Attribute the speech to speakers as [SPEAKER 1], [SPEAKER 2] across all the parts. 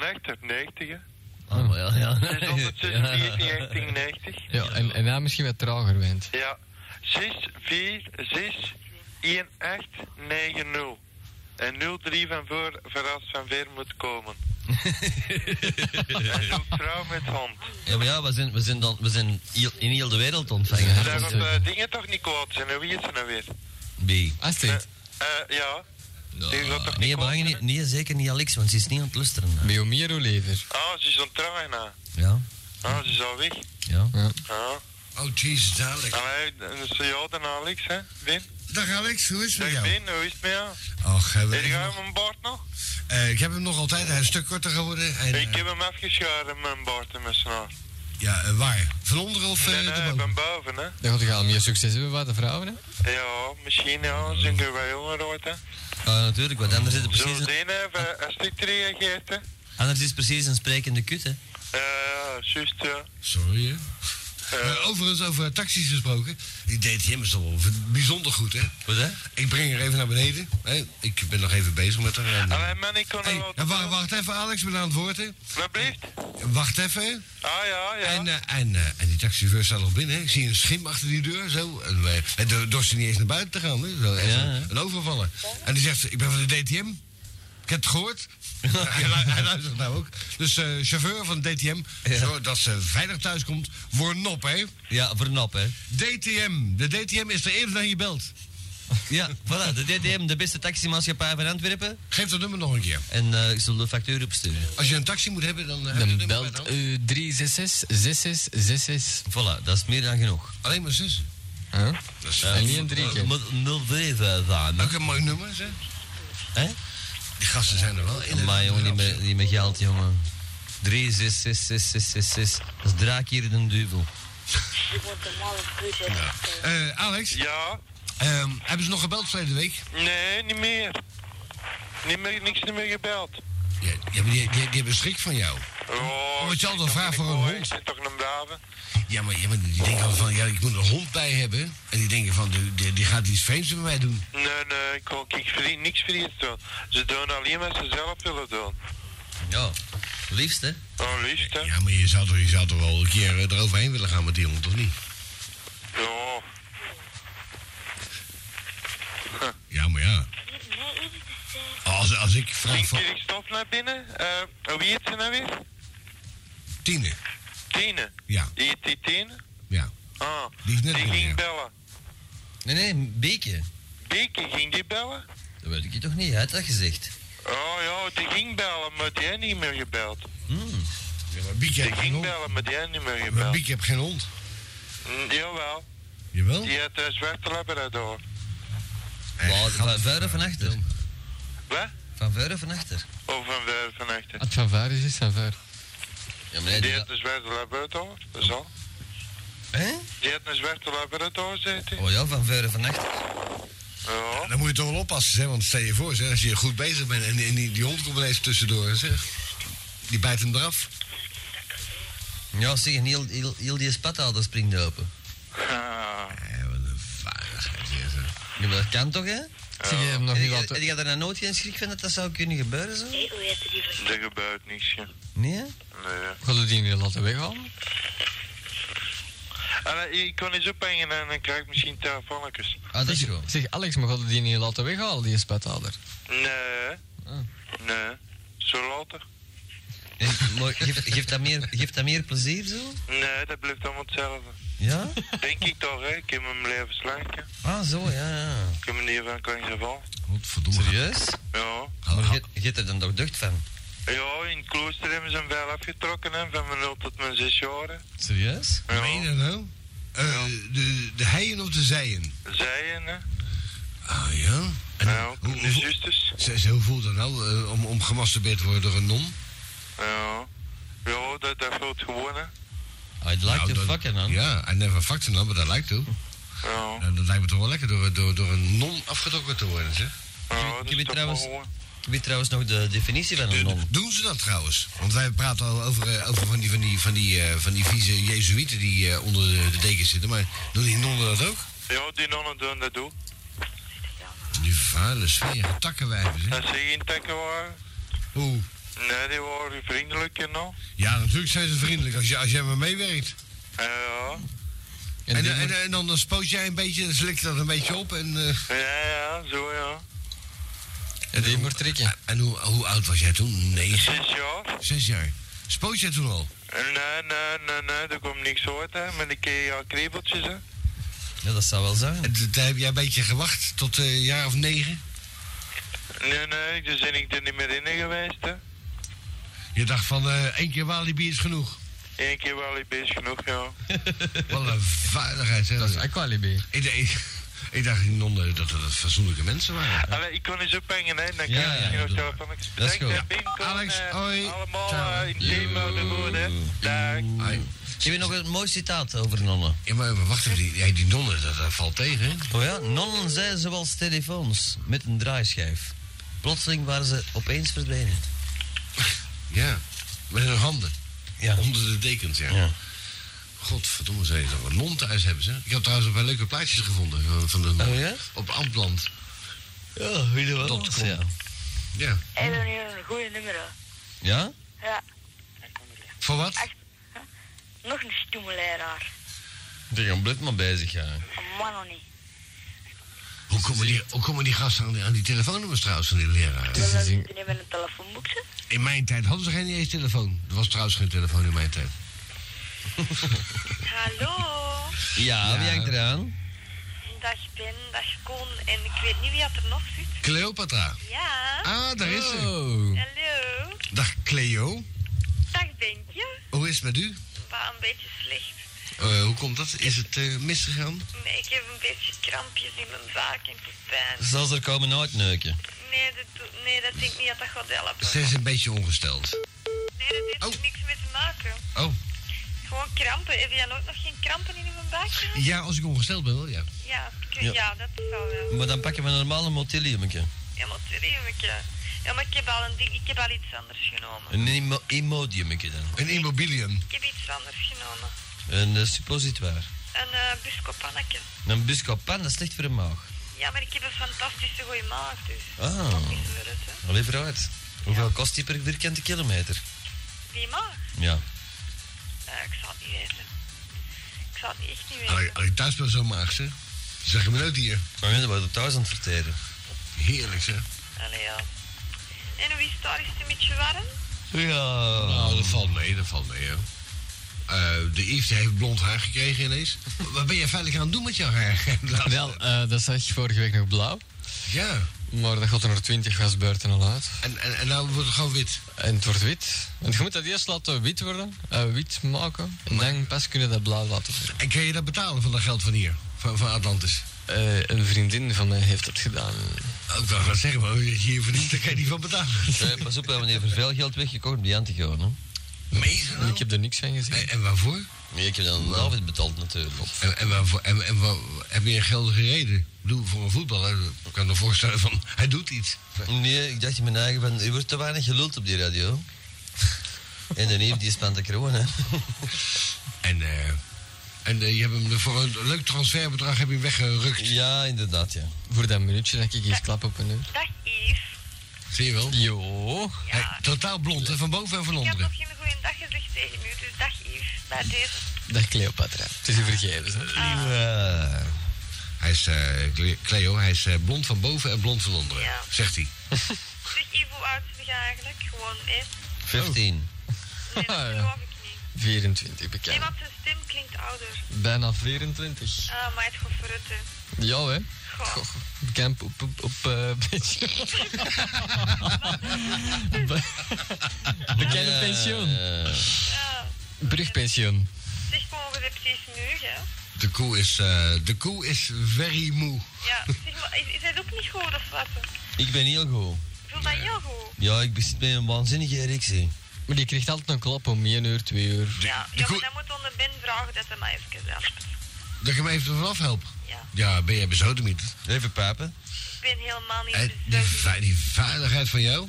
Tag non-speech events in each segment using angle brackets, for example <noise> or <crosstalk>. [SPEAKER 1] echt uit 90.
[SPEAKER 2] <laughs> Oh, wel, ja.
[SPEAKER 1] 646, 1990.
[SPEAKER 3] Ja, en, en hij misschien wat trager wint.
[SPEAKER 1] Ja. 6, 4, 6, 1, 8, 9, 0. En 0, 3 van voor, verrast van weer moet komen. en doe trouw met hand.
[SPEAKER 2] <laughs> Ja, maar ja, we zijn, we zijn, dan, we zijn heel- in heel de wereld ontvangen.
[SPEAKER 1] Zijn we bij eh, dingen toch niet kwaad zijn? En wie is er nou weer?
[SPEAKER 2] Nee.
[SPEAKER 3] Astrid,
[SPEAKER 1] Eh, ja. Die gaat toch
[SPEAKER 2] Nee,
[SPEAKER 1] niet kwaad
[SPEAKER 2] Brian,
[SPEAKER 1] zijn?
[SPEAKER 2] niet- nee, zeker niet Alex, want ze is niet aan het lusteren.
[SPEAKER 3] bij Omiro lever.
[SPEAKER 1] Ah, ze is aan het trouwen. hè.
[SPEAKER 2] Ja,
[SPEAKER 1] Ah, ze is al weg.
[SPEAKER 2] ja.
[SPEAKER 3] Ja.
[SPEAKER 1] Ah.
[SPEAKER 4] Oh, Jesus, Alex.
[SPEAKER 1] Allee, dat is ja, dan Alex, hè. Ben?
[SPEAKER 4] Dag Alex, hoe is het met
[SPEAKER 1] Dag
[SPEAKER 4] jou?
[SPEAKER 1] Ben, hoe is het met jou?
[SPEAKER 4] Och, hebben we
[SPEAKER 1] Heb
[SPEAKER 4] even
[SPEAKER 1] jij
[SPEAKER 4] nog-
[SPEAKER 1] mijn baard nog?
[SPEAKER 4] Eh, ik heb hem nog altijd. Hij is een stuk korter geworden. En,
[SPEAKER 1] Ik
[SPEAKER 4] eh,
[SPEAKER 1] heb hem afgeschoren, mijn baard en mijn snaar.
[SPEAKER 4] Ja, eh, waar? Van onderen of eh,
[SPEAKER 1] Nee, nee,
[SPEAKER 4] erboven?
[SPEAKER 1] van boven, hè.
[SPEAKER 3] Dan gaat hij al meer succes hebben bij de vrouwen, hè?
[SPEAKER 1] Ja, misschien ja, zijn er wel jonger uit, hè.
[SPEAKER 2] Ja, Ah, natuurlijk, want anders is het
[SPEAKER 1] Zo
[SPEAKER 2] precies een,
[SPEAKER 1] die even
[SPEAKER 4] Ah.
[SPEAKER 1] als ik reageert, hè.
[SPEAKER 2] anders is het precies een sprekende kut, hè.
[SPEAKER 1] Ja, juist, ja.
[SPEAKER 4] Sorry, hè.
[SPEAKER 1] Eh,
[SPEAKER 4] Eh, overigens, over taxis gesproken. Die deed Jimmers toch wel bijzonder goed, hè?
[SPEAKER 2] Wat, hè?
[SPEAKER 4] Ik breng haar even naar beneden. Hè? Ik ben nog even bezig met haar. en-
[SPEAKER 1] Allee, man, ik kon
[SPEAKER 4] Hey,
[SPEAKER 1] er
[SPEAKER 4] ja,
[SPEAKER 1] wel...
[SPEAKER 4] wacht, wacht even, Alex, we zijn aan het woord, hè?
[SPEAKER 1] Wat blijft?
[SPEAKER 4] Wacht even. hè.
[SPEAKER 1] Ah, ja, ja.
[SPEAKER 4] En, eh, en, eh, en die taxichauffeur staat al binnen. hè. Ik zie een schim achter die deur. Zo. En wij- en door- door ze niet eens naar buiten te gaan. Hè. Zo, even
[SPEAKER 2] Ja, hè.
[SPEAKER 4] Een overvallen. En die zegt: Ik ben van de DTM. Ik heb het
[SPEAKER 2] <laughs>
[SPEAKER 4] gehoord. hij, lu- hij luistert nou ook. Dus eh, chauffeur van de DTM,
[SPEAKER 2] Ja.
[SPEAKER 4] zodat ze veilig thuis komt, voor nop, hè?
[SPEAKER 2] Ja, voor een nap, hè.
[SPEAKER 4] DTM. De DTM is er eerder dan je belt.
[SPEAKER 2] Ja, voilà, de DTM, de beste taximaatschappij van Antwerpen.
[SPEAKER 4] Geef dat nummer nog een keer.
[SPEAKER 2] En eh, ik zal de factuur opsturen.
[SPEAKER 4] Als je een taxi moet hebben, dan. eh, heb je het
[SPEAKER 3] Dan
[SPEAKER 4] nummer bij de
[SPEAKER 3] belt eh,
[SPEAKER 4] hand.
[SPEAKER 3] u 366 6666.
[SPEAKER 2] Voilà, dat is meer dan genoeg. Eh,
[SPEAKER 4] Alleen maar zus.
[SPEAKER 3] Huh?
[SPEAKER 4] Dat is
[SPEAKER 3] En niet een drie keer.
[SPEAKER 2] Moet 0,5 aan.
[SPEAKER 4] ook een mooi nummer, zeg.
[SPEAKER 2] Hè?
[SPEAKER 4] Die gasten zijn er wel in.
[SPEAKER 2] Maar jongen, die met, die met geld, jongen. 3, 6, 6, 6, 6, 6, 6. Dat is draak hier de duivel.
[SPEAKER 4] Eh, Alex,
[SPEAKER 1] Ja,
[SPEAKER 4] ehm, hebben ze nog gebeld verleden week?
[SPEAKER 1] nee, niet meer. Niet meer, niks meer gebeld.
[SPEAKER 4] Ja, ja, maar die, die, die hebben schrik van jou.
[SPEAKER 1] Oh,
[SPEAKER 4] Oh, hetzelfde
[SPEAKER 1] ik zit
[SPEAKER 4] vraag
[SPEAKER 1] toch
[SPEAKER 4] voor
[SPEAKER 1] niet
[SPEAKER 4] een
[SPEAKER 1] mooi,
[SPEAKER 4] hond.
[SPEAKER 1] Ik zit toch een brave.
[SPEAKER 4] Ja, maar, ja, maar die denken altijd van, ja, ik moet een hond bij hebben. En die denken van, die, die, die gaat iets vreemds met mij doen.
[SPEAKER 1] Nee, nee, ik kan ik vrie, niks verlies doen. Ze doen alleen wat ze zelf willen doen.
[SPEAKER 2] Ja, liefst hè?
[SPEAKER 1] Oh, liefst, hè.
[SPEAKER 4] Ja, maar je zou toch, je zou toch wel een keer eh, eroverheen willen gaan met die hond, of niet?
[SPEAKER 1] Ja,
[SPEAKER 4] Ja, maar ja. Als, als ik vraag
[SPEAKER 1] tien
[SPEAKER 4] van...
[SPEAKER 1] keer ik stof naar binnen. Eh, wie heet ze nou weer?
[SPEAKER 4] Tine.
[SPEAKER 1] Tine.
[SPEAKER 4] Ja,
[SPEAKER 1] Die heet die Tine?
[SPEAKER 4] ja.
[SPEAKER 1] Ah,
[SPEAKER 4] Die is net binnen,
[SPEAKER 1] ging
[SPEAKER 4] ja.
[SPEAKER 1] bellen.
[SPEAKER 2] Nee, nee, een beekje.
[SPEAKER 1] Beke, ging die bellen?
[SPEAKER 2] Dat weet ik je toch niet, hij had dat gezegd.
[SPEAKER 1] Oh ja, die ging bellen, maar die heeft niet meer gebeld.
[SPEAKER 2] Hmm.
[SPEAKER 4] Ja, maar Bieke
[SPEAKER 1] Die
[SPEAKER 4] heeft geen
[SPEAKER 2] Oh.
[SPEAKER 1] ging
[SPEAKER 4] hond.
[SPEAKER 1] bellen, maar die heeft niet meer
[SPEAKER 4] Maar
[SPEAKER 1] gebeld.
[SPEAKER 4] Bieke heeft geen hond.
[SPEAKER 1] Mm, jawel,
[SPEAKER 4] Jawel?
[SPEAKER 1] die had een zwarte labrador.
[SPEAKER 2] Waar- van verre van achter.
[SPEAKER 1] Wat?
[SPEAKER 2] Van verre van achter.
[SPEAKER 1] Of een weer van echte.
[SPEAKER 3] Het van ver is, is van ver.
[SPEAKER 2] Ja, maar Ah, nee,
[SPEAKER 1] Die
[SPEAKER 2] die-
[SPEAKER 1] had een zwarte labrador, dat is al.
[SPEAKER 2] Hè?
[SPEAKER 1] Die had een zwarte labrador, zei hij.
[SPEAKER 2] Oh ja, van verre van achter.
[SPEAKER 1] Ja.
[SPEAKER 4] Dan moet je toch wel oppassen, hè? want stel je voor, zeg, als je goed bezig bent en, en die, die hond komt ineens tussendoor, zeg. Die bijt hem eraf.
[SPEAKER 2] Ja, zeg, en heel, heel, heel die spataal, dat springt open.
[SPEAKER 1] Ah,
[SPEAKER 4] Ja, Eh, wat een vaardigheid, zeg.
[SPEAKER 2] Ja, maar dat kan toch, hè?
[SPEAKER 3] Zie je hem nog
[SPEAKER 2] En
[SPEAKER 3] niet
[SPEAKER 2] die- en
[SPEAKER 3] laten...
[SPEAKER 2] die had er nou nooit geen schrik van dat dat zou kunnen gebeuren, zo?
[SPEAKER 1] er gebeurt niks, ja.
[SPEAKER 2] Nee, hè?
[SPEAKER 1] Nee.
[SPEAKER 3] Gaat u die niet laten weghalen?
[SPEAKER 1] Allee, ik kan eens ophangen en dan krijg ik misschien telefoontjes.
[SPEAKER 2] Ah, dat is
[SPEAKER 3] Zeg,
[SPEAKER 2] goed.
[SPEAKER 3] zeg, Alex, maar gaat u die niet laten weghalen, die spethouder?
[SPEAKER 1] Nee.
[SPEAKER 3] Ah.
[SPEAKER 1] Nee. Zo later.
[SPEAKER 2] En, maar geeft, geeft, dat meer, geeft dat meer plezier, zo?
[SPEAKER 1] Nee, dat blijft allemaal hetzelfde.
[SPEAKER 2] Ja?
[SPEAKER 1] Denk ik toch, hè. Ik heb mijn leven slanken.
[SPEAKER 2] Ah, zo, ja, ja.
[SPEAKER 1] Ik heb me niet van kan geval.
[SPEAKER 4] Wat verdomme.
[SPEAKER 2] Serieus?
[SPEAKER 1] Ja.
[SPEAKER 3] Ah,
[SPEAKER 2] Maar je- je hebt er dan toch ducht van?
[SPEAKER 1] Ja, in het klooster hebben ze hem wel afgetrokken, hè. Van mijn 0 tot mijn 6 jaar, hè.
[SPEAKER 2] Serieus?
[SPEAKER 4] Meen je
[SPEAKER 1] Ja.
[SPEAKER 4] dat nou? Eh, de, de heien of de zeien?
[SPEAKER 1] Zijen, hè.
[SPEAKER 4] Ah ja. En
[SPEAKER 1] Ja,
[SPEAKER 4] hoe,
[SPEAKER 1] de
[SPEAKER 4] hoe,
[SPEAKER 1] zusters.
[SPEAKER 4] ze- ze- hoe voelt dat nou eh, om, om gemasturbeerd te worden door een non?
[SPEAKER 1] Ja. Ja, dat, dat voelt gewoon, hè.
[SPEAKER 2] I'd like
[SPEAKER 4] Nou,
[SPEAKER 2] to
[SPEAKER 4] dat-
[SPEAKER 2] fuck her, man.
[SPEAKER 4] Ja, I never fucked her, maar dat lijkt toe.
[SPEAKER 1] Ja.
[SPEAKER 4] Nou, dat lijkt me toch wel lekker door, door, door een non afgetrokken te worden, zeg.
[SPEAKER 1] Ja,
[SPEAKER 2] Ik
[SPEAKER 1] dat
[SPEAKER 2] heb
[SPEAKER 1] is
[SPEAKER 2] je
[SPEAKER 1] toch
[SPEAKER 2] trouwens-
[SPEAKER 1] wel gewoon.
[SPEAKER 2] Ik weet trouwens nog de definitie van een
[SPEAKER 4] Eh,
[SPEAKER 2] non.
[SPEAKER 4] Doen ze dat trouwens? Want wij praten al over, eh, over van, die, van, die, van, die, eh, van die vieze jezuïeten die eh, onder de, de dekens zitten. Maar doen die nonnen dat ook?
[SPEAKER 1] Ja, die nonnen doen dat ook.
[SPEAKER 4] Die vuile smerige takkenwijven, zeg.
[SPEAKER 1] Dat ze geen takken waren.
[SPEAKER 4] Oeh.
[SPEAKER 1] Nee, die waren vriendelijk en al.
[SPEAKER 4] Ja, natuurlijk zijn ze vriendelijk als, je, als jij maar meewerkt.
[SPEAKER 1] Ja,
[SPEAKER 3] En,
[SPEAKER 4] En,
[SPEAKER 3] die
[SPEAKER 4] eh, en,
[SPEAKER 3] moet-
[SPEAKER 4] en dan spoot jij een beetje, dan slik je dat een beetje op. En, eh,
[SPEAKER 1] ja, ja, zo ja.
[SPEAKER 3] en die moet trekken.
[SPEAKER 4] en hoe, hoe oud was jij toen? Nee,
[SPEAKER 1] Zes jaar?
[SPEAKER 4] zes jaar. Spoot jij toen al?
[SPEAKER 1] Nee, eh, nee, nee, nee, er komt niks uit, hè. Met een keer ja, kriebeltjes, hè.
[SPEAKER 2] Ja, dat zou wel zijn.
[SPEAKER 4] En d- daar heb jij een beetje gewacht tot eh, een jaar of negen?
[SPEAKER 1] Nee, nee, dus ben ik er niet meer in geweest, hè.
[SPEAKER 4] Je dacht van eh, één keer Walibi is genoeg.
[SPEAKER 1] Eén keer wel ik best genoeg, ja.
[SPEAKER 4] Wat een veiligheid. Hè?
[SPEAKER 3] Dat is Aqualibi.
[SPEAKER 4] ik, ik, ik dacht die nonnen dat dat fatsoenlijke mensen waren.
[SPEAKER 1] Allee, ik kon eens ophangen, hè. Dan kan
[SPEAKER 2] Ja,
[SPEAKER 1] ik misschien
[SPEAKER 2] ja,
[SPEAKER 1] nog
[SPEAKER 2] doe
[SPEAKER 1] zo van...
[SPEAKER 2] Let's go.
[SPEAKER 1] Bedankt, hè, Pim, Con,
[SPEAKER 4] Alex,
[SPEAKER 1] eh,
[SPEAKER 4] hoi.
[SPEAKER 1] Allemaal
[SPEAKER 4] Ciao.
[SPEAKER 1] eh, in teamhouden worden, hè. Dag.
[SPEAKER 4] Ai.
[SPEAKER 2] Je hebt nog een mooi citaat over nonnen.
[SPEAKER 4] Ja, maar maar wacht even, die, ja, die nonnen, dat, dat valt tegen, hè?
[SPEAKER 2] Oh ja, nonnen zijn zoals telefoons met een draaischijf. Plotseling waren ze opeens verdwenen.
[SPEAKER 4] Ja, met hun handen.
[SPEAKER 2] Ja.
[SPEAKER 4] Onder de dekens, ja.
[SPEAKER 2] Ja.
[SPEAKER 4] Godverdomme, ze dat wat non thuis hebben ze. Ik heb trouwens wel leuke plaatjes gevonden van, van de non.
[SPEAKER 2] Oh, ja?
[SPEAKER 4] Op Amtland.
[SPEAKER 2] Ja, wie er
[SPEAKER 4] Dat
[SPEAKER 2] was,
[SPEAKER 4] kon.
[SPEAKER 2] Ja?
[SPEAKER 4] Ja.
[SPEAKER 5] Ik ben hier een goede nummer. hè.
[SPEAKER 2] ja?
[SPEAKER 5] Ja,
[SPEAKER 4] Voor wat?
[SPEAKER 5] nog een stoeme leraar.
[SPEAKER 2] Die gaan blut maar bezig gaan.
[SPEAKER 6] Oh,
[SPEAKER 5] Een man nog niet.
[SPEAKER 4] Hoe komen die, hoe komen die gasten aan die, aan die telefoonnummers trouwens van die leraar?
[SPEAKER 5] Wel,
[SPEAKER 3] is
[SPEAKER 5] dat
[SPEAKER 3] een-
[SPEAKER 5] ik niet met een telefoonboekje.
[SPEAKER 4] In mijn tijd hadden ze geen eens telefoon. Er was trouwens geen telefoon in mijn tijd.
[SPEAKER 6] Hallo,
[SPEAKER 2] Ja, wie hangt eraan?
[SPEAKER 6] dag Ben, dag Koen en ik weet niet wie dat er nog zit.
[SPEAKER 4] Cleopatra.
[SPEAKER 6] Ja,
[SPEAKER 4] Ah, daar is ze.
[SPEAKER 3] Oh.
[SPEAKER 6] hallo.
[SPEAKER 4] Dag Cleo.
[SPEAKER 6] Dag Benkje.
[SPEAKER 4] Hoe is het met u?
[SPEAKER 6] Waar een beetje slecht.
[SPEAKER 4] Eh, hoe komt dat? Is het eh, misgegaan?
[SPEAKER 6] Nee, Ik heb een beetje krampjes in mijn zaak en het doet pijn.
[SPEAKER 2] Zal ze er komen uitneuken?
[SPEAKER 6] Nee, dat, doet- nee, dat denk ik niet dat dat gaat helpen.
[SPEAKER 4] Ze is een beetje ongesteld.
[SPEAKER 6] Nee, dat heeft er
[SPEAKER 4] Oh.
[SPEAKER 6] niks mee te maken.
[SPEAKER 4] Oh.
[SPEAKER 6] Gewoon krampen. Heb jij nooit nog geen krampen in mijn buik gehad?
[SPEAKER 4] Ja, als ik ongesteld ben wel, ja.
[SPEAKER 6] Ja, ik-
[SPEAKER 2] Ja.
[SPEAKER 6] ja, dat zou wel.
[SPEAKER 2] Maar dan pakken we een normale motiliumke.
[SPEAKER 6] Helemaal terug, eh, Ja, maar ik heb al een ding, ik heb al iets anders genomen.
[SPEAKER 2] Een imo- imodiumke dan.
[SPEAKER 4] Een immobiliën.
[SPEAKER 6] Ik heb iets anders genomen.
[SPEAKER 2] Een eh, suppositoire.
[SPEAKER 6] Een uh, buskopannetje.
[SPEAKER 2] Een buscopan, dat is slecht voor de maag.
[SPEAKER 6] Ja, maar ik heb een fantastische goede maag, dus.
[SPEAKER 2] Ah.
[SPEAKER 6] Dat is wel het, hè.
[SPEAKER 2] Allee, vooruit. Hoeveel kost die per vierkante kilometer?
[SPEAKER 6] Die maag?
[SPEAKER 2] Ja.
[SPEAKER 6] Eh, ik zal het niet weten. Ik zal het echt niet
[SPEAKER 4] Als
[SPEAKER 6] weten.
[SPEAKER 4] ik- als ik thuis ben zo maag, zeg. Zeg je me nooit hier.
[SPEAKER 2] Maar mensen worden thuis aan het verteren.
[SPEAKER 4] Heerlijk, zeg.
[SPEAKER 6] Allee, ja. En hoe is het daar? Is het een beetje warm?
[SPEAKER 2] Ja.
[SPEAKER 4] Nou, dat valt mee, dat valt mee, hoor. Eh, de Yves die heeft blond haar gekregen ineens. <laughs> Wat ben je veilig aan het doen met jouw <laughs> haar? Nou,
[SPEAKER 3] Wel, eh, dat zag je vorige week nog blauw.
[SPEAKER 4] Ja.
[SPEAKER 3] Maar dat gaat er nog 20 vastbeurten al uit.
[SPEAKER 4] En, en, en nou wordt het gewoon wit.
[SPEAKER 3] En het wordt wit. Want je moet dat eerst laten wit worden, eh, wit maken. En dan pas kunnen dat blauw laten worden.
[SPEAKER 4] En kun je dat betalen van dat geld van hier? Van, van Atlantis?
[SPEAKER 3] Eh, een vriendin van mij heeft dat gedaan.
[SPEAKER 4] Oh, Ik wou gaan zeggen, maar als je hier verdient, dan kan je niet van <laughs> betalen.
[SPEAKER 2] <laughs> Eh, pas op, we hebben hier voor veel geld weggekocht bij Antigoon. Hè?
[SPEAKER 4] Meestal.
[SPEAKER 3] Ik heb er niks van gezien.
[SPEAKER 4] En, en waarvoor?
[SPEAKER 2] Nee, ik heb dan een avond betaald natuurlijk.
[SPEAKER 4] En, en waarvoor? En, en waar, heb je een geldige reden? Ik bedoel, voor een voetballer ik kan me voorstellen van, hij doet iets.
[SPEAKER 2] Nee, ik dacht in mijn eigen van, er wordt te weinig geluld op die
[SPEAKER 3] <laughs>
[SPEAKER 2] radio. En dan heeft die spant de kroon, hè. <laughs>
[SPEAKER 4] En, eh, en eh, je hebt hem er voor een leuk transferbedrag heb je hem weggerukt.
[SPEAKER 2] Ja, inderdaad, ja.
[SPEAKER 3] Voor dat minuutje dat ik hier klap op een uur.
[SPEAKER 6] Dag Yves.
[SPEAKER 4] Zie je wel?
[SPEAKER 3] Jo.
[SPEAKER 4] Hij- totaal blond, hè, van boven en van
[SPEAKER 6] Ik had
[SPEAKER 4] onderen.
[SPEAKER 6] nog geen goede dag gezegd tegen u, dus dag Yves. Bij deze.
[SPEAKER 3] Dag Cleopatra. Het is je vergeven, hè?
[SPEAKER 2] Ja.
[SPEAKER 4] Hij is, eh, Cle- Cleo, hij is eh, blond van boven en blond van onderen,
[SPEAKER 6] Ja.
[SPEAKER 4] zegt hij.
[SPEAKER 6] Zeg Yves, hoe oud ben je eigenlijk? Gewoon, hè?
[SPEAKER 2] 15.
[SPEAKER 6] Nee, dat
[SPEAKER 3] Ja.
[SPEAKER 6] geloof ik niet.
[SPEAKER 3] 24
[SPEAKER 6] Nee,
[SPEAKER 3] bekend.
[SPEAKER 6] want zijn stem klinkt ouder.
[SPEAKER 3] Bijna 24.
[SPEAKER 6] Ah, maar het gaat voor het, hè.
[SPEAKER 3] Ja, hè?
[SPEAKER 6] Goh.
[SPEAKER 3] Goh, Bekend op, op, op eh, <laughs> beetje. Be- Bekende Oh, pensioen.
[SPEAKER 2] Ja.
[SPEAKER 6] Ja.
[SPEAKER 3] Brugpensioen.
[SPEAKER 6] Zeg gewoon, je hebt precies nu, hè.
[SPEAKER 4] De koe is, eh, de koe is very moe.
[SPEAKER 6] Ja. Zeg maar, is, is het ook niet goed of wat?
[SPEAKER 2] Ik ben heel goed.
[SPEAKER 6] Ik voel dat heel goed.
[SPEAKER 2] Ja, ik bezit met een waanzinnige erectie.
[SPEAKER 3] Maar die krijgt altijd een klap om 1 uur, 2 uur.
[SPEAKER 6] Ja,
[SPEAKER 4] de
[SPEAKER 6] ja
[SPEAKER 4] koe-
[SPEAKER 6] maar dan moet onder Ben vragen dat hij mij even helpt.
[SPEAKER 4] Dat ik hem even vanaf help.
[SPEAKER 6] Ja.
[SPEAKER 4] Ja, ben jij bezodemieterd?
[SPEAKER 2] Even pijpen.
[SPEAKER 6] Ik ben helemaal niet
[SPEAKER 4] En die,
[SPEAKER 6] bezig.
[SPEAKER 4] ve- die veiligheid van jou?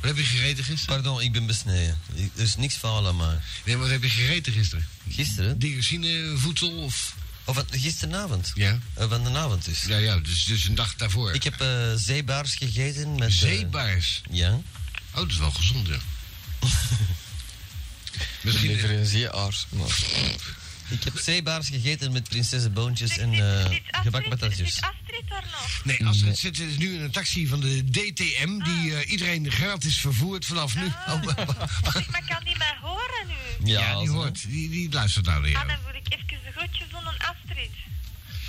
[SPEAKER 4] Wat heb je gegeten gisteren?
[SPEAKER 2] Pardon, ik ben besneden. Ik- Er is niks fout aan mij.
[SPEAKER 4] Nee, maar wat heb je gegeten gisteren?
[SPEAKER 2] Gisteren?
[SPEAKER 4] Dioxine, voedsel of...
[SPEAKER 2] Of van- gisteravond?
[SPEAKER 4] Ja.
[SPEAKER 2] Eh, van de avond dus.
[SPEAKER 4] Ja, ja, dus, dus een dag daarvoor.
[SPEAKER 2] Ik heb eh zeebaars gegeten met... eh,
[SPEAKER 4] Zeebaars.
[SPEAKER 2] ja.
[SPEAKER 4] <laughs> Oh, dat is wel gezond, ja. Misschien eh,
[SPEAKER 3] Beter in zeeaars. Maar
[SPEAKER 2] Ik heb zeebaars gegeten met prinsessenboontjes en
[SPEAKER 6] Dus Zit-
[SPEAKER 2] eh
[SPEAKER 6] zit Astrid-
[SPEAKER 2] gebak met tasjes.
[SPEAKER 6] Zit Astrid daar nog?
[SPEAKER 4] Nee, Astrid zit eh, nu in een taxi van de DTM die eh, iedereen gratis vervoert vanaf nu. <laughs> Oh, wa- wa- wa-
[SPEAKER 6] Ah. Ik maar kan die mij horen nu.
[SPEAKER 4] ja, die
[SPEAKER 2] zo.
[SPEAKER 4] hoort, die, die luistert nou naar
[SPEAKER 6] Ah,
[SPEAKER 4] jou.
[SPEAKER 6] dan wil ik even de groetjes doen aan Astrid.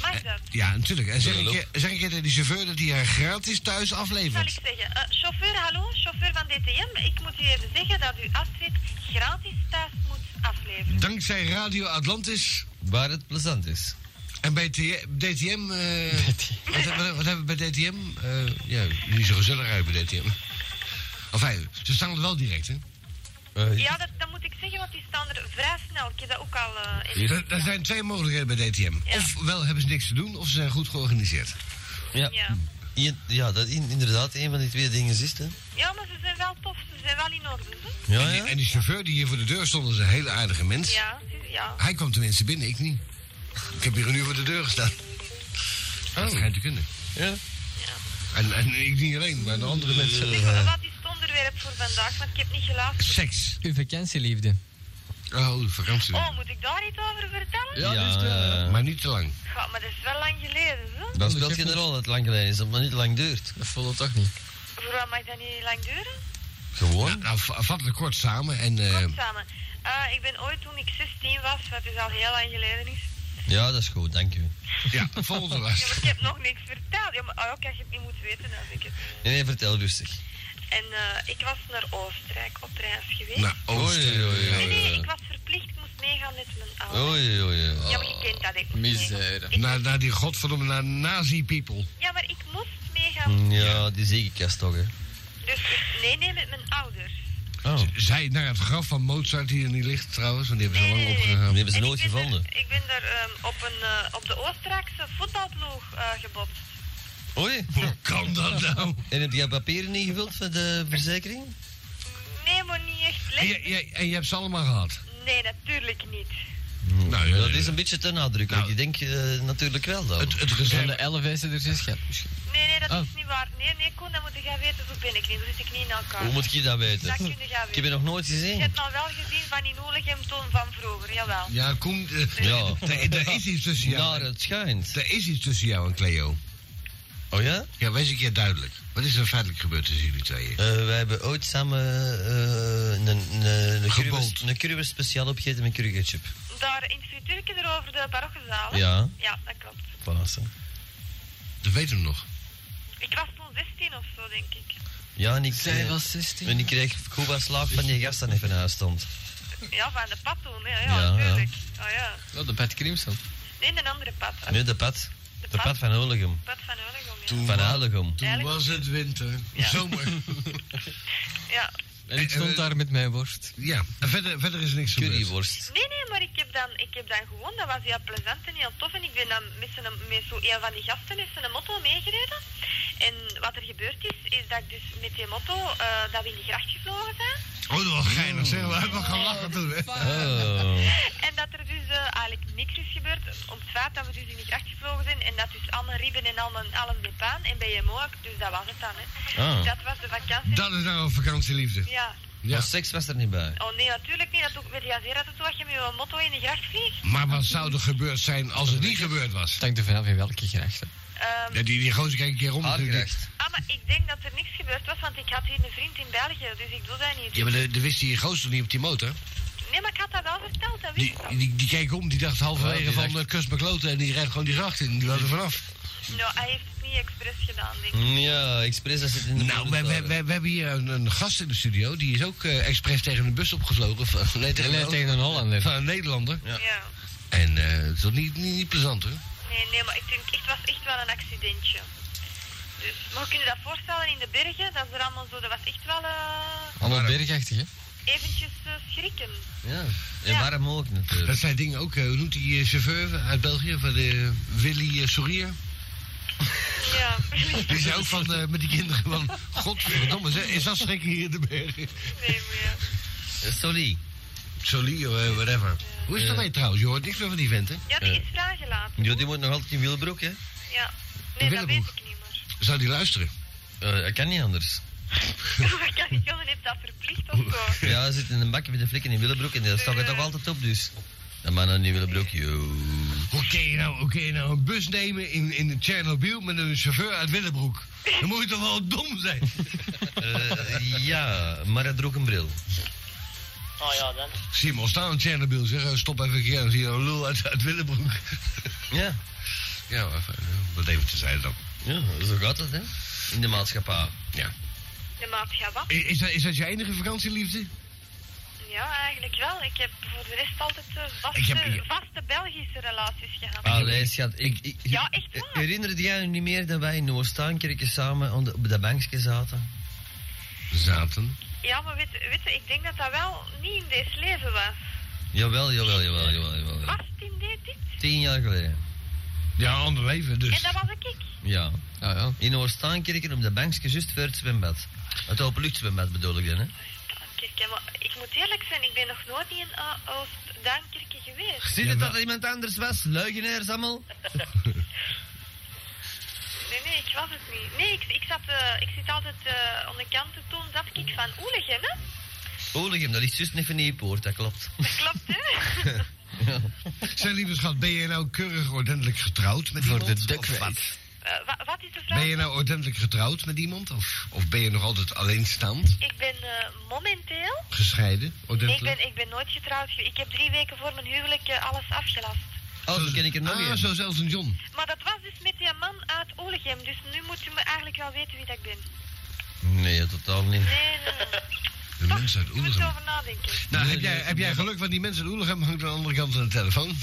[SPEAKER 4] Eh,
[SPEAKER 6] Mag dat?
[SPEAKER 4] Ja, natuurlijk. En zeg ik,
[SPEAKER 2] Hallo.
[SPEAKER 4] je- zeg ik je tegen die chauffeur dat hij haar gratis thuis
[SPEAKER 6] Zal ik
[SPEAKER 4] aflevert?
[SPEAKER 6] zeggen, eh, chauffeur, hallo, chauffeur van DTM. Ik moet u even zeggen dat u Astrid gratis thuis moet afleveren.
[SPEAKER 4] Dankzij Radio Atlantis
[SPEAKER 2] Waar het plezant is.
[SPEAKER 4] en bij T- DTM... <laughs> eh, wat, he- wat, wat hebben we bij DTM? Eh, ja, niet zo gezellig uit bij DTM. Enfin, ze staan er wel direct, hè?
[SPEAKER 2] Eh,
[SPEAKER 6] Ja, dat, dat moet ik zeggen, want die staan er vrij snel. Ik heb dat ook al... eh, in-
[SPEAKER 4] Er, er zijn twee mogelijkheden bij DTM.
[SPEAKER 6] Ja.
[SPEAKER 4] Ofwel hebben ze niks te doen, of ze zijn goed georganiseerd.
[SPEAKER 2] Ja,
[SPEAKER 6] ja.
[SPEAKER 2] I- ja dat in- inderdaad een van die twee dingen is het. Hè?
[SPEAKER 6] ja, maar ze zijn wel tof. Ze zijn wel in orde, hè?
[SPEAKER 2] Oh Ja,
[SPEAKER 4] En die, en die chauffeur die hier voor de deur stond, is een hele aardige mens.
[SPEAKER 6] Ja, ze- ja.
[SPEAKER 4] Hij kwam tenminste binnen, ik niet. Ik heb hier een uur voor de deur gestaan. Oh. Dat schijnt te kunnen.
[SPEAKER 2] Ja.
[SPEAKER 4] En, en ik niet alleen, maar de andere mensen.
[SPEAKER 6] Zeg, wat is het onderwerp voor vandaag? Want ik heb niet geluisterd.
[SPEAKER 4] Seks.
[SPEAKER 3] uw vakantieliefde.
[SPEAKER 4] Oh, vakantie. eh,
[SPEAKER 6] Oh, moet ik daar iets over vertellen?
[SPEAKER 2] ja, dus, eh, ja,
[SPEAKER 4] Maar niet te lang.
[SPEAKER 6] Ja, maar dat is wel lang geleden, hè?
[SPEAKER 2] Dan speelt geen rol dat het lang geleden is, dat het maar niet lang duurt.
[SPEAKER 3] Dat voelde toch niet.
[SPEAKER 6] Voor wat mag dat niet lang duren?
[SPEAKER 4] Gewoon? Nou, va- vat het kort samen en... eh,
[SPEAKER 6] Kort samen. Eh, ik ben ooit toen ik 16 was, wat dus al heel lang geleden is.
[SPEAKER 2] Ja, dat is goed, dank u.
[SPEAKER 4] ja, volgende
[SPEAKER 6] Ja, maar
[SPEAKER 4] was.
[SPEAKER 6] ik heb nog niks verteld. Ja, maar oh, ja, ik had het niet moeten weten als ik het.
[SPEAKER 2] Nee, nee, vertel rustig.
[SPEAKER 6] En eh, ik was naar Oostenrijk op reis geweest.
[SPEAKER 4] Nou,
[SPEAKER 2] Oei, oei,
[SPEAKER 4] oosten.
[SPEAKER 2] oei.
[SPEAKER 6] nee, nee, ik was verplicht. Ik moest meegaan met mijn ouders.
[SPEAKER 2] Oei, oei, oei.
[SPEAKER 6] Ja, maar ik ken dat. Ik moest meegaan.
[SPEAKER 3] Misère.
[SPEAKER 4] Naar, naar die godverdomme, naar nazi-people.
[SPEAKER 6] Ja, maar ik moest meegaan.
[SPEAKER 4] Hmm.
[SPEAKER 2] Mm, Ja, die zekerkast toch, hè.
[SPEAKER 6] Dus ik- nee, nee, met mijn ouders.
[SPEAKER 2] Oh.
[SPEAKER 4] Zij naar het graf van Mozart die er niet ligt trouwens, want die hebben ze al lang
[SPEAKER 6] Nee, nee, nee.
[SPEAKER 4] opgegraven.
[SPEAKER 2] Die hebben ze
[SPEAKER 6] En
[SPEAKER 2] nooit
[SPEAKER 6] ik ben
[SPEAKER 2] gevonden.
[SPEAKER 6] er- ik ben daar ehm, op, een, eh, op de Oostenrijkse voetbalploeg eh gebotst.
[SPEAKER 2] Oei.
[SPEAKER 4] Hoe kan dat nou?
[SPEAKER 2] En heb jij papieren niet gevuld van de verzekering?
[SPEAKER 6] Nee, maar niet echt
[SPEAKER 4] En
[SPEAKER 6] slecht.
[SPEAKER 4] je, je- en je hebt ze allemaal gehad?
[SPEAKER 6] Nee, natuurlijk niet.
[SPEAKER 4] Nou, ja,
[SPEAKER 2] dat
[SPEAKER 4] ja,
[SPEAKER 2] is
[SPEAKER 4] ja.
[SPEAKER 2] een beetje te nadrukkelijk.
[SPEAKER 4] Nou.
[SPEAKER 2] Ik denk eh, natuurlijk wel Eh, dan.
[SPEAKER 4] Het, het
[SPEAKER 3] Van de
[SPEAKER 4] gezin.
[SPEAKER 3] 11 is er zes gehad misschien.
[SPEAKER 6] Nee, nee, dat
[SPEAKER 3] Oh.
[SPEAKER 6] is niet waar. Nee, nee, Koen, dat moet je gaan weten. Zo ben ik niet. Zo zit ik niet in elkaar.
[SPEAKER 2] Hoe moet je dat weten?
[SPEAKER 6] Dat kun je gaan
[SPEAKER 2] Ik heb je
[SPEAKER 6] weten.
[SPEAKER 2] nog nooit
[SPEAKER 6] Je
[SPEAKER 2] gezien.
[SPEAKER 6] hebt nou wel gezien van die Noelichem toon van vroeger, jawel.
[SPEAKER 4] Ja, Nou, Koen, eh,
[SPEAKER 2] Ja.
[SPEAKER 4] er, er is iets tussen jou.
[SPEAKER 2] Naar het schijnt.
[SPEAKER 4] Er is iets tussen jou en Cleo.
[SPEAKER 2] Oh ja?
[SPEAKER 4] Ja, wees ik je duidelijk. Wat is er feitelijk gebeurd tussen jullie tweeën?
[SPEAKER 2] Eh, wij hebben ooit samen eh, een- een- een
[SPEAKER 4] Gebold.
[SPEAKER 2] curry- een curry speciaal opgegeten met curry ketchup.
[SPEAKER 6] Daar in het frituurtje erover de parochiezaal. hè?
[SPEAKER 2] Ja.
[SPEAKER 6] Ja, dat klopt.
[SPEAKER 2] Pasen.
[SPEAKER 4] Dat weten we nog.
[SPEAKER 6] Ik was toen 16 of zo, denk ik.
[SPEAKER 2] Ja, en ik,
[SPEAKER 3] Zij
[SPEAKER 2] eh,
[SPEAKER 3] was 16.
[SPEAKER 2] en ik kreeg goed wat slaap van die gast dan even naast stond.
[SPEAKER 6] Ja, van de pad toen, hè.
[SPEAKER 2] Ja,
[SPEAKER 6] Ja,
[SPEAKER 2] ja.
[SPEAKER 6] natuurlijk. Oh ja.
[SPEAKER 3] Oh, de Pat Crimson.
[SPEAKER 6] Nee, een andere pad.
[SPEAKER 2] Nu de pad.
[SPEAKER 6] De
[SPEAKER 2] De
[SPEAKER 6] pad?
[SPEAKER 2] pad van Olegum.
[SPEAKER 6] Pad van Olegom, ja.
[SPEAKER 4] Toen,
[SPEAKER 2] Van
[SPEAKER 4] wa-
[SPEAKER 2] Olegum.
[SPEAKER 4] toen was het winter. Zomer.
[SPEAKER 6] ja.
[SPEAKER 3] En ik stond daar met mijn worst.
[SPEAKER 4] ja, en verder, verder is er niks gebeurd.
[SPEAKER 2] Curryworst.
[SPEAKER 6] Nee, nee, maar ik heb dan, ik heb dan gewoon, dat was heel plezant en heel tof. En ik ben dan met, zijn, met zo een van die gasten met zijn motto meegereden. En wat er gebeurd is, is dat ik dus met die motto, eh, dat we in de gracht gevlogen zijn.
[SPEAKER 4] Oh, dat was geinig. Zeg, we hebben gaan lachen toen. hè.
[SPEAKER 2] Oh.
[SPEAKER 6] En dat er dus eh, eigenlijk niks is gebeurd. Om het feit dat we dus in de gracht gevlogen zijn. En dat dus allemaal ribben en allemaal allen de baan. En bij je moak, dus dat was het dan. Hè.
[SPEAKER 2] Ah.
[SPEAKER 6] Dat was de vakantie.
[SPEAKER 4] Dat is nou een vakantieliefde.
[SPEAKER 6] Ja.
[SPEAKER 4] Ja.
[SPEAKER 2] Maar seks was er niet bij.
[SPEAKER 6] Oh nee, natuurlijk niet. Dat doe ik weer ja, zeer dat het was je met je motto in de gracht vliegt.
[SPEAKER 4] Maar wat zou er gebeurd zijn als het niet gebeurd was?
[SPEAKER 3] Het hangt er vanaf in welke gracht. hè.
[SPEAKER 6] Ehm,
[SPEAKER 4] Ja, die, die gozer kijkt een keer om natuurlijk.
[SPEAKER 2] Aardgerecht.
[SPEAKER 6] ah, maar ik denk dat er niks gebeurd was, want ik had hier een vriend in België, dus ik doe dat niet.
[SPEAKER 4] Ja, maar de, de wist die gozer niet op die motor.
[SPEAKER 6] Nee, maar ik had dat wel verteld, dat
[SPEAKER 4] Die,
[SPEAKER 6] wist ik. al.
[SPEAKER 4] die, die keek om, die dacht halverwege
[SPEAKER 3] Ja, die
[SPEAKER 4] van
[SPEAKER 3] dacht-
[SPEAKER 4] eh, kus mijn kloten en die rijdt gewoon die gracht in. Die was er vanaf.
[SPEAKER 6] Nou, hij heeft het niet expres gedaan, denk ik.
[SPEAKER 2] Ja, expres dat zit in de
[SPEAKER 4] Nou, we, we,
[SPEAKER 2] boventoren.
[SPEAKER 4] we, we hebben hier een, een gast in de studio. Die is ook eh, expres tegen een bus opgevlogen. Van, nee, tegen,
[SPEAKER 3] Nee,
[SPEAKER 4] een-
[SPEAKER 3] tegen een Hollander.
[SPEAKER 4] van een Nederlander.
[SPEAKER 2] Ja.
[SPEAKER 6] Ja.
[SPEAKER 4] En eh, het is toch niet, niet, niet plezant, hoor.
[SPEAKER 6] Nee, nee, maar ik denk, echt- het was echt wel een accidentje. Dus, maar kun je dat voorstellen in de bergen? Dat is er allemaal zo, dat was echt wel eh,
[SPEAKER 3] Allemaal bergachtig, hè?
[SPEAKER 6] eventjes eh, schrikken.
[SPEAKER 2] Ja. En
[SPEAKER 6] Ja.
[SPEAKER 2] warm ook
[SPEAKER 4] Dat
[SPEAKER 2] natuurlijk.
[SPEAKER 4] zijn dingen ook, eh, hoe noemt die eh, chauffeur uit België, van de Willy eh, Sourier?
[SPEAKER 6] Ja. <laughs>
[SPEAKER 4] Die zei ook van, eh, met die kinderen van, godverdomme, zeg, is dat schrik hier in de bergen?
[SPEAKER 6] nee, maar ja.
[SPEAKER 2] Eh, Sorry.
[SPEAKER 4] Solie, eh, whatever. Hoe is dat mee trouwens? Je hoort niks meer van die vent, hè?
[SPEAKER 6] Ja, die is vrijgelaten.
[SPEAKER 2] Ja, die moet nog altijd in wielbroek, hè?
[SPEAKER 6] Ja. Nee, dat weet
[SPEAKER 4] Willebroek.
[SPEAKER 6] ik niet meer. <laughs>
[SPEAKER 4] Zou die luisteren?
[SPEAKER 2] Eh, dat kan niet anders.
[SPEAKER 6] Wat kan ik doen? Heeft dat verplicht of
[SPEAKER 2] <laughs>
[SPEAKER 6] zo?
[SPEAKER 2] Ja, we zitten in een bakje met de flikken in Willebroek en daar stak het toch altijd op, dus. De mannen in Willebroek, yo.
[SPEAKER 4] Hoe kun je nou, hoe kun je nou een bus nemen in, in Tsjernobyl met een chauffeur uit Willebroek? Dan moet je toch wel dom zijn?
[SPEAKER 2] Eh, ja, maar hij droeg een bril.
[SPEAKER 7] Oh ja, dan.
[SPEAKER 4] Ik zie hem al staan in Tsjernobyl, zeg. eh, Stop even een keer, dan zie je een lul uit, uit Willebroek.
[SPEAKER 2] Ja,
[SPEAKER 4] <laughs> Ja, maar even, eh, wat even te zijn dan.
[SPEAKER 2] ja zo gaat dat, hè? In de maatschappij.
[SPEAKER 4] Ja.
[SPEAKER 6] De maat gaat wat?
[SPEAKER 4] I- Is, dat, is dat je enige vakantieliefde?
[SPEAKER 6] Ja, eigenlijk wel. Ik heb voor de rest altijd eh,
[SPEAKER 4] Ik
[SPEAKER 6] vaste,
[SPEAKER 4] heb- Ah.
[SPEAKER 6] vaste Belgische relaties gehad.
[SPEAKER 2] Allee, schat. Ik, ik,
[SPEAKER 6] Ja, echt waar.
[SPEAKER 2] Herinner jij je niet meer dat wij in Noordstaankerken samen aan de- op dat bankje zaten?
[SPEAKER 4] Zaten.
[SPEAKER 6] Ja, maar weet, weet je, ik denk dat dat wel niet in deze leven was.
[SPEAKER 4] Ah.
[SPEAKER 2] Jawel, jawel, jawel, jawel. jawel.
[SPEAKER 6] Was het in dit? dit?
[SPEAKER 2] Tien jaar geleden.
[SPEAKER 4] Ja, ander leven
[SPEAKER 6] En
[SPEAKER 4] dus.
[SPEAKER 6] dat was ik.
[SPEAKER 2] Ah, Ja.
[SPEAKER 3] Ja, ja.
[SPEAKER 2] In Noordstaankerken op dat bankje, juist voor het zwembad. Het openluchtzwembad bedoel ik dan, hè?
[SPEAKER 6] Kerken, maar ik moet eerlijk zijn, ik ben nog nooit in uh, Oost-Duinkerke geweest.
[SPEAKER 2] Zie je dat er iemand anders was? Leugenaars allemaal?
[SPEAKER 6] Nee, nee, ik was het niet. Nee, ik, ik, zat, eh, ik zit altijd eh, aan de kant en toen zat ik van Oelegem, hè?
[SPEAKER 2] Olegem, dat is juist net van die poort, dat <laughs> klopt.
[SPEAKER 6] Dat klopt,
[SPEAKER 4] <laughs>
[SPEAKER 6] hè?
[SPEAKER 4] Zijn lieve schat, ben je nou keurig ordentelijk getrouwd met iemand? of wat?
[SPEAKER 6] Eh, wa- wat is de vraag?
[SPEAKER 4] Ben je nou ordentelijk getrouwd met iemand? Of, of ben je nog altijd alleenstaand?
[SPEAKER 6] Ik ben eh, momenteel...
[SPEAKER 4] Gescheiden?
[SPEAKER 6] Nee, ik
[SPEAKER 4] Ordentelijk?
[SPEAKER 6] ben, ik ben nooit getrouwd. ge- Ik heb drie weken voor mijn huwelijk eh, alles afgelast.
[SPEAKER 2] Oh, dan ken ik er nog
[SPEAKER 4] ah,
[SPEAKER 2] één.
[SPEAKER 4] zo zelfs een John.
[SPEAKER 6] Maar dat was dus met die man uit Oelegem, dus nu moet u me eigenlijk wel weten wie dat ik ben.
[SPEAKER 2] Nee, totaal niet.
[SPEAKER 6] Nee, nee, nee.
[SPEAKER 4] <laughs> De mensen uit
[SPEAKER 6] Je moet
[SPEAKER 4] Oelegem.
[SPEAKER 6] erover nadenken.
[SPEAKER 4] Nou,
[SPEAKER 2] Nee,
[SPEAKER 4] heb jij,
[SPEAKER 2] nee,
[SPEAKER 4] heb jij geluk, want die mensen uit Oelegem hangt aan de andere kant aan de telefoon.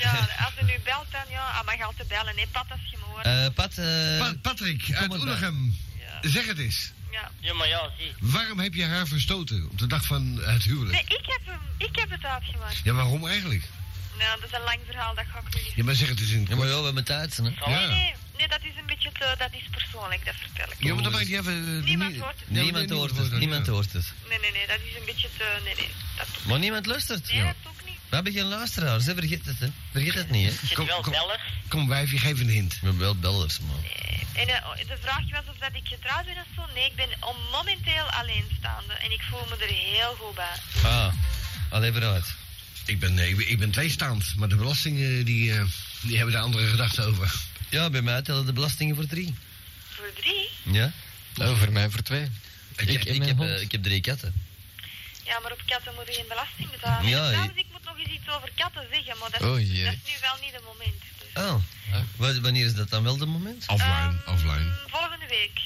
[SPEAKER 6] Ja, als u nu belt dan, ja, ah, mag je altijd bellen, hè, Pat, als je me hoort.
[SPEAKER 2] Eh Pat, eh,
[SPEAKER 4] Pa- Patrick, uit
[SPEAKER 2] maar bij.
[SPEAKER 4] Oelegem.
[SPEAKER 6] Ja.
[SPEAKER 4] Zeg het eens.
[SPEAKER 6] Ja.
[SPEAKER 7] Ja, maar ja, zie.
[SPEAKER 4] Waarom heb je haar verstoten op de dag van het
[SPEAKER 6] Nee,
[SPEAKER 4] huwelijk?
[SPEAKER 6] ik heb, hem, ik heb het uitgemaakt.
[SPEAKER 4] Ja, waarom eigenlijk?
[SPEAKER 6] Nou, dat is een lang verhaal, dat ga ik nu niet
[SPEAKER 4] Ja, maar zeg het eens in
[SPEAKER 2] ja,
[SPEAKER 4] het
[SPEAKER 2] maar
[SPEAKER 4] kort.
[SPEAKER 2] wel, we hebben tijd, hè?
[SPEAKER 6] Nee,
[SPEAKER 7] Ja.
[SPEAKER 6] nee, nee, dat is een beetje te, dat is persoonlijk, dat vertel ik.
[SPEAKER 4] Ja, maar dat maakt niet even...
[SPEAKER 2] eh,
[SPEAKER 6] Niemand hoort het.
[SPEAKER 4] Nee,
[SPEAKER 2] Niemand
[SPEAKER 4] nee,
[SPEAKER 2] hoort het, niemand
[SPEAKER 4] ja.
[SPEAKER 2] hoort het.
[SPEAKER 6] Nee, nee, nee, dat is een beetje te, nee, nee, dat,
[SPEAKER 2] Maar niemand luistert.
[SPEAKER 6] nee, dat ook niet.
[SPEAKER 2] We hebben geen luisteraars, hè? vergeet het, hè? Vergeet het niet, hè?
[SPEAKER 7] Zit
[SPEAKER 4] Kom-
[SPEAKER 7] wel
[SPEAKER 4] kom.
[SPEAKER 7] bellers.
[SPEAKER 4] Kom wijfje, geef een hint.
[SPEAKER 2] We hebben wel bellers, man.
[SPEAKER 6] Eh, En eh, de vraag was of dat ik getrouwd ben of zo. Nee, ik ben om- momenteel alleenstaande en ik voel me er heel goed bij.
[SPEAKER 2] Ah, alleen vooruit.
[SPEAKER 4] Ik ben, nee, ik ben- ik ben tweestaand, maar de belastingen die, eh, die hebben daar andere gedachten over.
[SPEAKER 2] Ja, bij mij tellen de belastingen voor drie.
[SPEAKER 6] Voor drie?
[SPEAKER 2] Ja?
[SPEAKER 3] Nou, voor mij voor twee.
[SPEAKER 2] Ik, ik,
[SPEAKER 3] en mijn
[SPEAKER 2] heb,
[SPEAKER 3] hond.
[SPEAKER 2] eh, ik heb drie katten.
[SPEAKER 6] Ja, maar op katten moet je geen belasting betalen.
[SPEAKER 2] Ja,
[SPEAKER 6] En
[SPEAKER 2] je-
[SPEAKER 6] trouwens, ik moet nog eens iets over katten zeggen, maar dat,
[SPEAKER 3] Oh, jee.
[SPEAKER 6] dat is nu wel niet het moment. Dus,
[SPEAKER 2] Oh, wa- wanneer is dat dan wel de moment?
[SPEAKER 4] Offline,
[SPEAKER 6] Ehm,
[SPEAKER 4] offline.
[SPEAKER 6] Volgende week.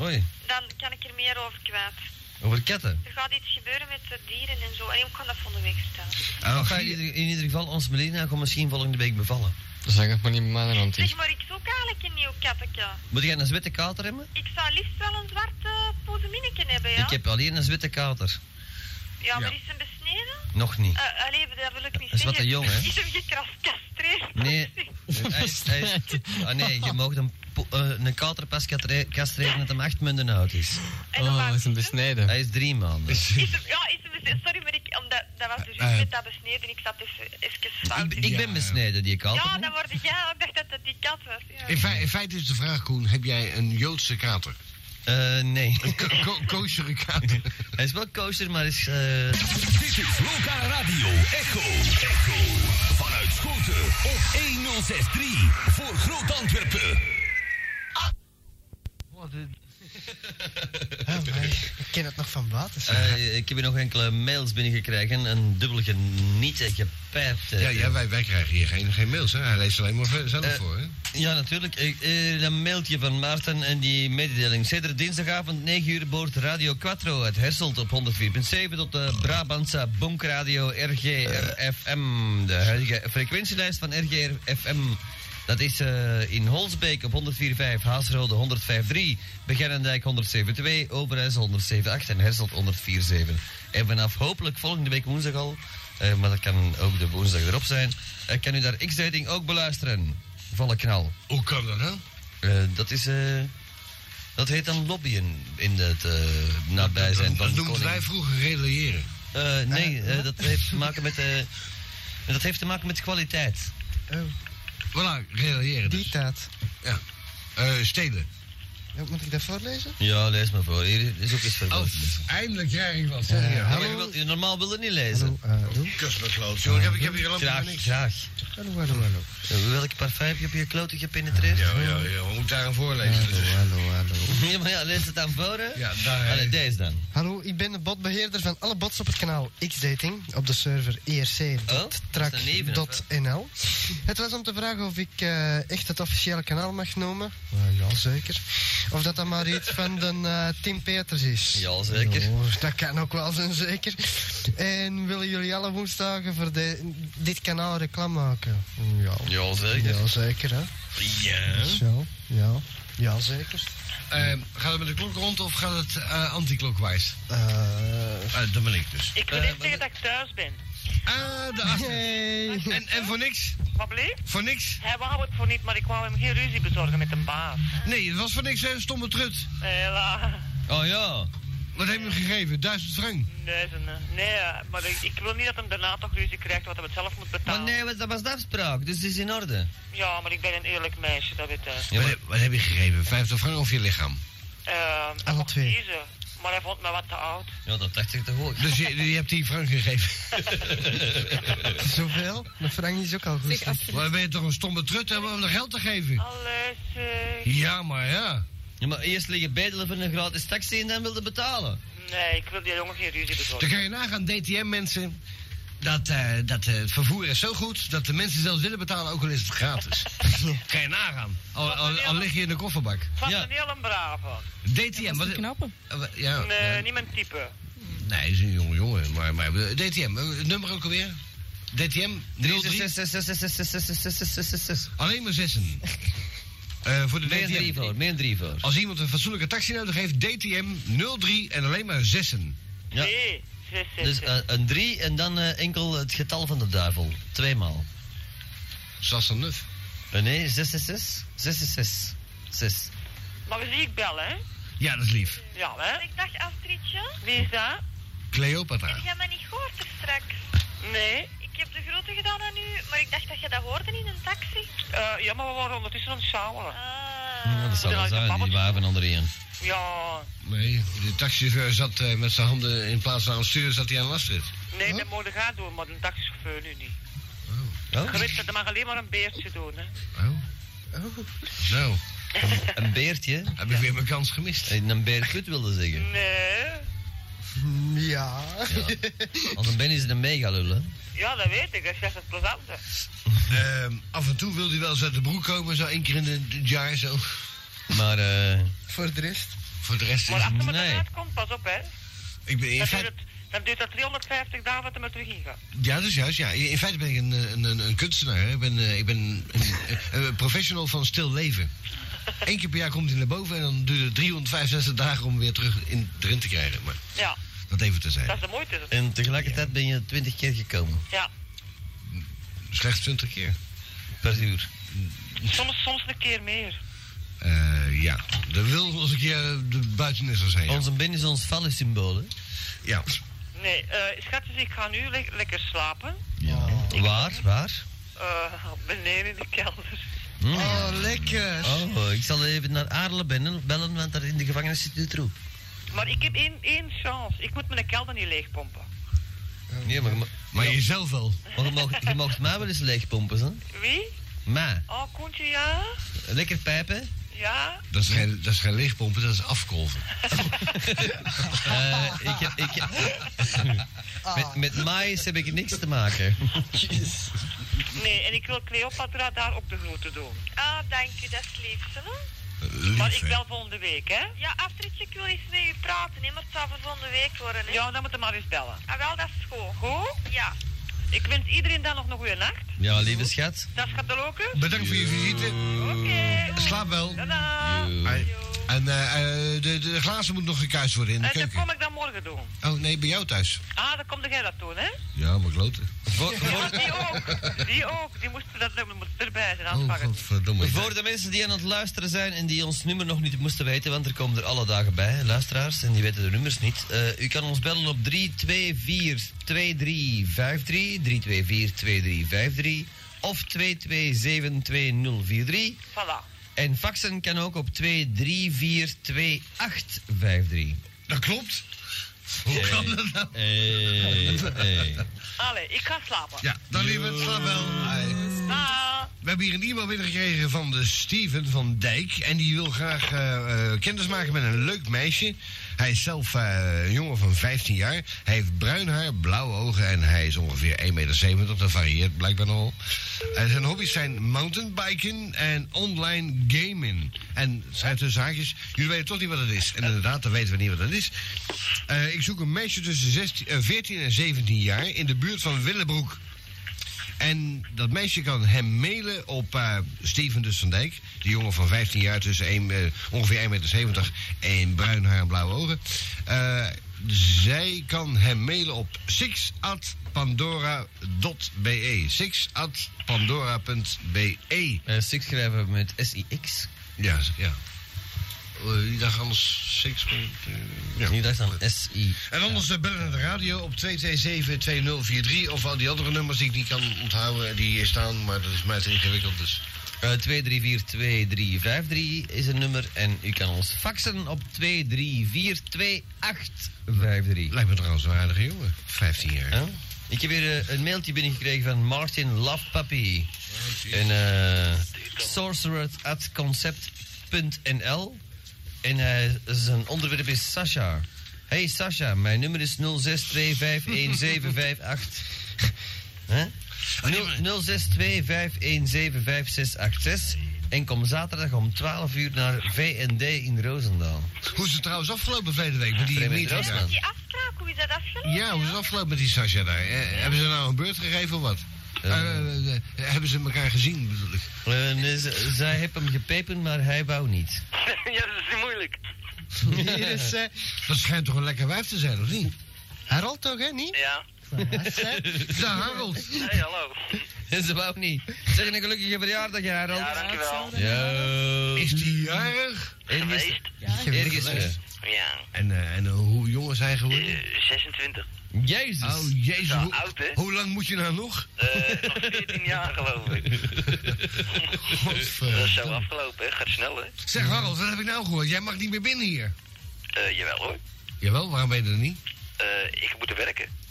[SPEAKER 2] Oei,
[SPEAKER 6] Dan kan ik er meer over kwijt.
[SPEAKER 2] over katten.
[SPEAKER 6] Er gaat iets gebeuren met de dieren en zo. En ik kan dat volgende week vertellen.
[SPEAKER 4] Ah,
[SPEAKER 2] Enfin, in, ieder, in ieder geval, ons Melina gaat misschien volgende week bevallen.
[SPEAKER 3] Zeg het maar niet met mijn hand.
[SPEAKER 6] Zeg, maar ik zoek eigenlijk een nieuw kattetje.
[SPEAKER 2] Moet jij een zwette kater hebben?
[SPEAKER 6] Ik zou liefst wel een zwarte poezeminnetje hebben, ja?
[SPEAKER 2] Ik heb alleen een zwette kater.
[SPEAKER 6] Ja, maar
[SPEAKER 4] Ja.
[SPEAKER 6] is hem besneden?
[SPEAKER 2] Nog niet.
[SPEAKER 6] Eh allee, dat wil ik niet
[SPEAKER 2] Een
[SPEAKER 6] zeggen.
[SPEAKER 2] zwarte jong,
[SPEAKER 6] <laughs>
[SPEAKER 2] hè?
[SPEAKER 6] Is hem gecastreerd?
[SPEAKER 2] Nee.
[SPEAKER 7] Ah.
[SPEAKER 2] Hij is- hij is- ah nee, je mag een, po- eh, een kater pas katre- castreren dat hem acht maanden oud is.
[SPEAKER 6] <laughs> En dan
[SPEAKER 3] Oh,
[SPEAKER 6] maakt
[SPEAKER 3] is hem
[SPEAKER 6] het, hè?
[SPEAKER 3] besneden.
[SPEAKER 2] Hij is drie maanden.
[SPEAKER 6] Is hem- ja, is hem besneden. Sorry, maar ik, omdat, dat was dus
[SPEAKER 4] Eh,
[SPEAKER 6] met dat besneden. Ik zat even, even fout.
[SPEAKER 2] Ik, ik ben besneden, die kater.
[SPEAKER 6] ja,
[SPEAKER 2] hè?
[SPEAKER 6] dan word ik, ja, ik dacht dat dat die kat was. Ja.
[SPEAKER 4] In, fe- in feite is de vraag, Koen, heb jij een Joodse kater?
[SPEAKER 2] Eh, nee.
[SPEAKER 4] Ko- ko- Koosjere <laughs> kater.
[SPEAKER 2] Hij is wel kosher, maar is... eh,
[SPEAKER 8] Dit is Loka Radio Echo. Echo. Vanuit Schoten op 1063 voor Groot Antwerpen.
[SPEAKER 9] ik ken het nog van buiten.
[SPEAKER 2] eh, ik heb hier nog enkele mails binnengekregen. Een dubbel genieten, gepijpt. eh.
[SPEAKER 4] Ja, ja wij, wij krijgen hier geen, geen mails, hè? Hij leest alleen maar ve- zelf
[SPEAKER 2] Eh,
[SPEAKER 4] voor, hè?
[SPEAKER 2] Ja, natuurlijk. Ik, eh, een mailtje van Maarten en die mededeling. Sedert dinsdagavond 9 uur boort Radio Quattro uit Herselt op 104.7 tot de Brabantse Bonkradio RGRFM. De huidige frequentielijst van RGRFM. Dat is eh, in Holsbeek op 104.5, Haasrode 105.3, Beginnendijk 107.2, Overijssel 107.8 en Herselt 104.7. En vanaf hopelijk volgende week woensdag al, eh, maar dat kan ook de woensdag erop zijn, eh, kan u daar X-Dating ook beluisteren. Volle knal.
[SPEAKER 4] Hoe kan dat dan?
[SPEAKER 2] Eh, dat is. eh, dat heet dan lobbyen in het eh nabijzijn van
[SPEAKER 4] Dat
[SPEAKER 2] de
[SPEAKER 4] noemden
[SPEAKER 2] koning.
[SPEAKER 4] wij vroeger relayeren.
[SPEAKER 2] Eh, nee, eh, dat heeft te maken met. eh, dat heeft te maken met kwaliteit.
[SPEAKER 4] Voilà, relayeren
[SPEAKER 9] Die
[SPEAKER 4] dus.
[SPEAKER 9] tijd.
[SPEAKER 4] Ja. Eh, stelen.
[SPEAKER 9] Moet ik dat voorlezen?
[SPEAKER 2] Ja, lees maar voor. Hier is ook iets verboden.
[SPEAKER 4] Oh, eindelijk krijg ik wat. Zeg
[SPEAKER 9] Ja,
[SPEAKER 4] ja.
[SPEAKER 2] Ja, je wilt- je normaal wil je niet lezen.
[SPEAKER 9] Hallo, eh, doe.
[SPEAKER 4] Kus me kloot, jongen. Ik heb, ik heb hier helemaal
[SPEAKER 2] Graag,
[SPEAKER 4] niks.
[SPEAKER 2] graag.
[SPEAKER 9] Hallo, hallo, hallo.
[SPEAKER 2] Eh, Welk parfum heb je op je kloten gepenetreerd?
[SPEAKER 4] Ja, ja, ja. Hoe moet ik daar een voorlezen? dus.
[SPEAKER 9] Hallo, hallo, hallo.
[SPEAKER 2] <laughs> Ja, maar ja, lees het dan voor, hè?
[SPEAKER 4] Ja, daar.
[SPEAKER 2] Allee, deze dan.
[SPEAKER 9] Hallo, ik ben de botbeheerder van alle bots op het kanaal X-Dating op de server E
[SPEAKER 2] Oh, dat is
[SPEAKER 9] irc.trak.nl. Het was om te vragen of ik eh, echt het officiële kanaal mag noemen. Eh, ja, zeker. Of dat dat maar iets van de, eh, Tim Peters is.
[SPEAKER 2] Ja, zeker.
[SPEAKER 9] Ja, dat kan ook wel zijn, zeker. En willen jullie alle woensdagen voor de, dit kanaal reclame maken? Ja,
[SPEAKER 2] Ja,
[SPEAKER 9] ja zeker hè.
[SPEAKER 4] Ja.
[SPEAKER 9] Zo, ja. Ja, zeker.
[SPEAKER 4] Ehm, gaat het met de klok rond of gaat het eh, anti-klokwijs?
[SPEAKER 9] Eh,
[SPEAKER 4] Eh, dat ben ik dus.
[SPEAKER 7] Ik wil even zeggen dat ik thuis ben.
[SPEAKER 4] Ah, de achter.
[SPEAKER 9] hey.
[SPEAKER 4] En, en voor niks?
[SPEAKER 7] Wat bleef?
[SPEAKER 4] Voor niks?
[SPEAKER 7] Hij wou het voor niet, maar ik wou hem geen ruzie bezorgen met een baas.
[SPEAKER 4] Nee, het was voor niks, hè? Stomme trut.
[SPEAKER 7] Hela.
[SPEAKER 2] Oh ja.
[SPEAKER 4] Wat heb je hem gegeven? Duizend frank.
[SPEAKER 7] Nee, ze- nee, maar ik, ik wil niet dat hem daarna toch ruzie krijgt, want hij het zelf moet
[SPEAKER 2] Maar
[SPEAKER 7] betalen.
[SPEAKER 2] Oh, nee, dat was de afspraak, dus het is in orde.
[SPEAKER 7] Ja, maar ik ben een eerlijk meisje, dat weet hij.
[SPEAKER 2] Ja,
[SPEAKER 4] wat,
[SPEAKER 2] maar-
[SPEAKER 4] heb, wat heb je gegeven? Vijftig frank of je lichaam?
[SPEAKER 7] Eh, hij
[SPEAKER 9] Alle
[SPEAKER 7] mocht
[SPEAKER 9] twee.
[SPEAKER 7] kiezen, maar hij vond me wat te oud.
[SPEAKER 2] Ja, dat dacht ik toch ook.
[SPEAKER 4] Dus je, je hebt die frank
[SPEAKER 2] <laughs>
[SPEAKER 4] gegeven.
[SPEAKER 9] Zoveel? De Frank is ook al goed. hè?
[SPEAKER 4] Maar ben je toch een stomme trut hebben om er geld te geven?
[SPEAKER 7] Alles, eh,
[SPEAKER 4] Ja, maar ja.
[SPEAKER 2] Ja, maar eerst liggen bedelen voor een gratis taxi en dan wilde betalen.
[SPEAKER 7] Nee, ik wil die jongen geen ruzie bezorgen.
[SPEAKER 4] Dan kan je nagaan, DTM mensen. Dat, eh, dat eh, het vervoer is zo goed dat de mensen zelfs willen betalen, ook al is het
[SPEAKER 2] <laughs>
[SPEAKER 4] gratis. kan je nagaan. Al, al, al lig je in de kofferbak.
[SPEAKER 7] Het was
[SPEAKER 2] Ja.
[SPEAKER 7] een heel brave.
[SPEAKER 4] DTM, wat knappen? Ja,
[SPEAKER 7] Nee,
[SPEAKER 4] ja.
[SPEAKER 7] niet mijn type.
[SPEAKER 4] nee, is een jonge jongen. Maar, maar eh, DTM, eh, het nummer ook alweer? DTM 03. Alleen maar
[SPEAKER 2] <laughs>
[SPEAKER 4] zessen. Eh, voor de
[SPEAKER 2] Meer drie
[SPEAKER 4] DTM.
[SPEAKER 2] voor, meer drie voor.
[SPEAKER 4] Als iemand een fatsoenlijke taxi nodig heeft, DTM 03 en alleen maar zessen.
[SPEAKER 2] Ja.
[SPEAKER 7] Nee, zes, zes,
[SPEAKER 2] Dus
[SPEAKER 7] zes.
[SPEAKER 2] eh, een drie en dan eh, enkel het getal van de duivel. Tweemaal.
[SPEAKER 4] Sassanuf.
[SPEAKER 2] Eh, nee, 666. 666. 6.
[SPEAKER 7] Maar zie ik bellen, hè?
[SPEAKER 4] Ja, dat is lief.
[SPEAKER 7] Ja, hè?
[SPEAKER 6] Ik dacht Astridje,
[SPEAKER 7] Wie is dat?
[SPEAKER 4] Cleopatra.
[SPEAKER 6] heb jij me niet gehoord er straks?
[SPEAKER 7] Nee.
[SPEAKER 6] Ik heb de grote gedaan aan u, maar ik dacht dat je dat hoorde in een taxi.
[SPEAKER 7] Eh, ja, maar we waren ondertussen aan het sjouwen.
[SPEAKER 6] Ah.
[SPEAKER 2] dat zal wel
[SPEAKER 7] Ja, de
[SPEAKER 2] zijn, die
[SPEAKER 7] babbeltjes.
[SPEAKER 2] waven onderin.
[SPEAKER 7] Ja.
[SPEAKER 4] Nee, de taxichauffeur zat eh, met zijn handen in plaats van aan het sturen, zat hij aan lastrit.
[SPEAKER 7] Nee, dat moet je gaan doen, maar een taxichauffeur nu niet.
[SPEAKER 2] Oh,
[SPEAKER 7] Je weet dat, dat mag alleen maar een beertje doen, hè?
[SPEAKER 4] Oh. Nou,
[SPEAKER 2] een beertje.
[SPEAKER 4] heb ik weer mijn kans gemist.
[SPEAKER 2] En Een beerkut wilde zeggen.
[SPEAKER 7] Nee.
[SPEAKER 9] Ja.
[SPEAKER 2] Als een Ben is het een megalul, hè.
[SPEAKER 7] Ja, dat weet ik. Dat is juist het plezante.
[SPEAKER 4] Ehm, af en toe wil hij wel eens uit de broek komen, zo één keer in de- het jaar zo.
[SPEAKER 2] Maar, eh...
[SPEAKER 9] Voor de rest.
[SPEAKER 4] Voor de rest is
[SPEAKER 7] Maar als het
[SPEAKER 2] Nee.
[SPEAKER 7] eruit komt, pas op, hè?
[SPEAKER 4] Ik ben in
[SPEAKER 7] Dan duurt,
[SPEAKER 4] feite,
[SPEAKER 7] het, dan duurt dat 350 dagen wat er maar terug in gaat.
[SPEAKER 4] ja, dat is juist, ja. In feite ben ik een, eh, een, een, een kunstenaar. hè. Ik ben, eh, ik ben een, een, een professional van stil
[SPEAKER 7] <laughs>
[SPEAKER 4] leven. Eén keer per jaar komt hij naar boven en dan duurt het 365 dagen om hem weer terug in, erin te krijgen. Maar
[SPEAKER 7] Ja,
[SPEAKER 4] dat even te
[SPEAKER 7] dat
[SPEAKER 4] zijn.
[SPEAKER 7] is de moeite. dus.
[SPEAKER 2] En tegelijkertijd ben je twintig keer gekomen.
[SPEAKER 7] Ja.
[SPEAKER 4] Slechts 20 keer.
[SPEAKER 2] Per uur.
[SPEAKER 7] Soms, soms een keer meer.
[SPEAKER 4] Eh, ja, er wil nog eens een keer eh, de buitenissers zijn. Ja.
[SPEAKER 2] Onze Ben is ons vallensymbool, hè.
[SPEAKER 4] ja.
[SPEAKER 7] Nee, eh schatjes, ik ga nu le- lekker slapen.
[SPEAKER 2] Waar, waar?
[SPEAKER 7] Eh, <laughs> beneden in de kelder.
[SPEAKER 2] Hm.
[SPEAKER 9] Oh, lekker.
[SPEAKER 2] Oh, ik zal even naar Aarle bellen, bellen, want daar in de gevangenis zit de troep.
[SPEAKER 7] Maar ik heb één, één chance. Ik moet mijn kelder niet leegpompen.
[SPEAKER 2] Nee, maar je mo-
[SPEAKER 4] Maar jezelf wel.
[SPEAKER 2] maar je mag, je mag mij wel eens leegpompen, hè.
[SPEAKER 7] Wie?
[SPEAKER 2] Maar,
[SPEAKER 7] Oh, Koentje, ja?
[SPEAKER 2] lekker pijpen.
[SPEAKER 7] Ja?
[SPEAKER 4] Dat is geen, dat is geen leegpompen, dat is afkolven.
[SPEAKER 2] Eh, ik, heb- ik,
[SPEAKER 7] <laughs>
[SPEAKER 2] <laughs> heb- met, met maïs heb ik niks te maken.
[SPEAKER 7] Nee, en ik wil Cleopatra daar ook de groeten doen.
[SPEAKER 6] Ah, dank u, dat is lief. hè?
[SPEAKER 4] Lief,
[SPEAKER 7] Maar ik
[SPEAKER 4] hè.
[SPEAKER 7] bel volgende week, hè?
[SPEAKER 6] Ja, Astridje, ik wil eens met u praten, hè, maar het zal voor volgende week worden. Hè?
[SPEAKER 7] Ja, dan moet je maar eens bellen.
[SPEAKER 6] Ah, wel, dat is goed.
[SPEAKER 7] Goed?
[SPEAKER 6] Ja.
[SPEAKER 7] Ik wens iedereen dan nog een goede nacht.
[SPEAKER 2] Ja, lieve schat.
[SPEAKER 7] Dat gaat de loken.
[SPEAKER 4] Bedankt voor je visite.
[SPEAKER 7] Oké.
[SPEAKER 4] Slaap wel.
[SPEAKER 7] Tada.
[SPEAKER 4] Hey. En eh, eh, de, de glazen moeten nog gekuist worden in de
[SPEAKER 7] En dat
[SPEAKER 4] keuken.
[SPEAKER 7] kom ik dan morgen doen.
[SPEAKER 4] Oh nee, bij jou thuis.
[SPEAKER 7] Ah, dan komt jij dat doen, hè?
[SPEAKER 4] Ja, maar kloten.
[SPEAKER 2] Voor,
[SPEAKER 7] Ja,
[SPEAKER 2] voor,
[SPEAKER 7] die ook. Die ook. Die moesten dat nummer moest erbij zijn. Anders
[SPEAKER 4] Oh,
[SPEAKER 7] mag het niet.
[SPEAKER 4] godverdomme.
[SPEAKER 2] voor de mensen die aan het luisteren zijn en die ons nummer nog niet moesten weten, want er komen er alle dagen bij, luisteraars, en die weten de nummers niet. Eh, u kan ons bellen op 324 2353, 324 2353 of 227 2043.
[SPEAKER 7] Voilà.
[SPEAKER 2] En faxen kan ook op 2342853.
[SPEAKER 4] Dat klopt. Hoe kan dat nou?
[SPEAKER 2] Hey, hey.
[SPEAKER 7] Allee, ik ga slapen.
[SPEAKER 4] Ja, dan liever het wel.
[SPEAKER 7] Da.
[SPEAKER 4] We hebben hier een e-mail binnengekregen van de Steven van Dijk. En die wil graag eh, eh, kennis maken met een leuk meisje. Hij is zelf eh, een jongen van 15 jaar. Hij heeft bruin haar, blauwe ogen en hij is ongeveer 1,70 meter. Dat varieert blijkbaar nogal. En zijn hobby's zijn mountainbiken en online gaming. En zijn tussen haakjes, jullie weten toch niet wat het is. En inderdaad, dan weten we niet wat het is. Eh, ik zoek een meisje tussen 16, eh, 14 en 17 jaar in de buurt van Willebroek. En dat meisje kan hem mailen op eh, Steven dus van Dijk. Die jongen van 15 jaar tussen één, eh, ongeveer 1,70 meter en bruin haar en blauwe ogen. Eh, zij kan hem mailen op 6atpandora.be. 6atpandora.be.
[SPEAKER 2] Eh, six schrijven we met S-I-X.
[SPEAKER 4] E. Ja, ja. Eh, Die dag anders 6. Ja.
[SPEAKER 2] Nu dacht dan S-I.
[SPEAKER 4] En anders eh, bellen naar de radio op 227-2043 of al die andere nummers die ik niet kan onthouden eh, die hier staan, maar dat is mij te ingewikkeld dus.
[SPEAKER 2] Eh 2342353 is een nummer en u kan ons faxen op 2342853.
[SPEAKER 4] Lijkt me trouwens een aardige jongen. 15 jaar.
[SPEAKER 2] Huh? Ik heb weer eh, een mailtje binnengekregen van Martin Love Puppy. en eh sorcerer at concept.nl. En hij- zijn onderwerp is Sasha. Hey Sasha, mijn nummer is <laughs> 06251758. Huh? Nul- 0625175686 en kom zaterdag om 12 uur naar VND in Roosendaal.
[SPEAKER 4] Hoe is het trouwens afgelopen verleden week met die
[SPEAKER 2] Vreemd
[SPEAKER 4] meeting
[SPEAKER 2] Roosman.
[SPEAKER 4] daar?
[SPEAKER 6] Die afspraak, hoe is dat afgelopen?
[SPEAKER 4] Ja, hoe is het afgelopen met die Sasha daar? Eh, Hebben ze nou een beurt gegeven of wat?
[SPEAKER 2] Eh.
[SPEAKER 4] Eh, eh, eh, hebben ze elkaar gezien bedoel ik?
[SPEAKER 2] Eh, nee, ze- zij heeft hem gepepen, maar hij wou niet.
[SPEAKER 7] ja, dat is moeilijk.
[SPEAKER 9] Hier is eh,
[SPEAKER 4] Dat schijnt toch een lekker wijf te zijn, of niet?
[SPEAKER 9] Harold toch, hè? Niet?
[SPEAKER 7] Ja.
[SPEAKER 4] De Harold.
[SPEAKER 7] Hey, hallo.
[SPEAKER 2] Ze wou niet. Zeg een gelukkige verjaardag, Harold.
[SPEAKER 7] Ja, dankjewel.
[SPEAKER 2] Yo.
[SPEAKER 4] Is die jarig?
[SPEAKER 2] Ergens,
[SPEAKER 7] Geweest.
[SPEAKER 2] ergens weer.
[SPEAKER 7] Ja.
[SPEAKER 4] En, eh, en hoe jong is hij geworden?
[SPEAKER 7] Eh, 26.
[SPEAKER 2] Jezus. <laughs>
[SPEAKER 4] Oh jezus,
[SPEAKER 7] Nou,
[SPEAKER 4] hoe,
[SPEAKER 7] oud, hè?
[SPEAKER 4] hoe lang moet je nou nog?
[SPEAKER 7] Eh, nog 14 jaar, geloof ik. Eh, Dat is zo
[SPEAKER 4] Godverdomme.
[SPEAKER 7] afgelopen, hè. Gaat snel, hè.
[SPEAKER 4] Zeg Harold, wat heb ik nou gehoord? Jij mag niet meer binnen hier.
[SPEAKER 7] Eh, jawel, hoor.
[SPEAKER 4] Jawel, waarom ben je er niet?
[SPEAKER 7] Eh, ik moet werken.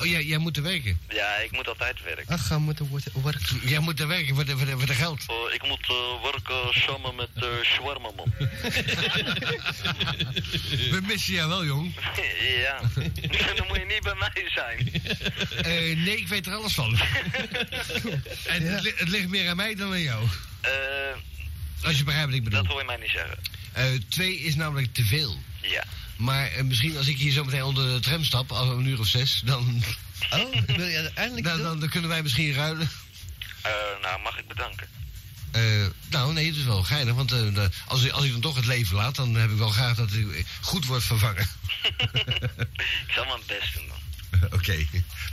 [SPEAKER 4] Oh, jij, jij moet er werken.
[SPEAKER 7] Ja, ik moet altijd werken.
[SPEAKER 9] Ach, ga moeten worden. worden.
[SPEAKER 4] Jij moet er werken voor de, voor de, voor de geld.
[SPEAKER 7] Eh, ik moet eh, werken samen met eh shawarma, man.
[SPEAKER 4] We missen jou wel, jong.
[SPEAKER 7] ja. Dan moet je niet bij mij zijn.
[SPEAKER 4] Eh, nee, ik weet er alles <laughs> van. en het, li- het ligt meer aan mij dan aan jou.
[SPEAKER 7] Eh,
[SPEAKER 4] Als je begrijpt wat ik bedoel.
[SPEAKER 7] dat hoor je mij niet zeggen.
[SPEAKER 4] Eh, twee is namelijk te veel.
[SPEAKER 7] Ja.
[SPEAKER 4] Maar eh, misschien als ik hier zo meteen onder de tram stap, als om een uur of zes, dan,
[SPEAKER 2] Oh, wil je uiteindelijk
[SPEAKER 4] dan,
[SPEAKER 2] doen?
[SPEAKER 4] dan, dan kunnen wij misschien ruilen.
[SPEAKER 7] Eh, nou, mag ik bedanken. <laughs>
[SPEAKER 4] Eh, nou, nee, het is wel geinig. Want eh, de- als, ik- als ik dan toch het leven laat, dan heb ik wel graag dat ik eh, goed wordt vervangen.
[SPEAKER 7] <laughs>
[SPEAKER 4] <laughs>
[SPEAKER 7] ik zal mijn best doen, man.
[SPEAKER 4] Oké,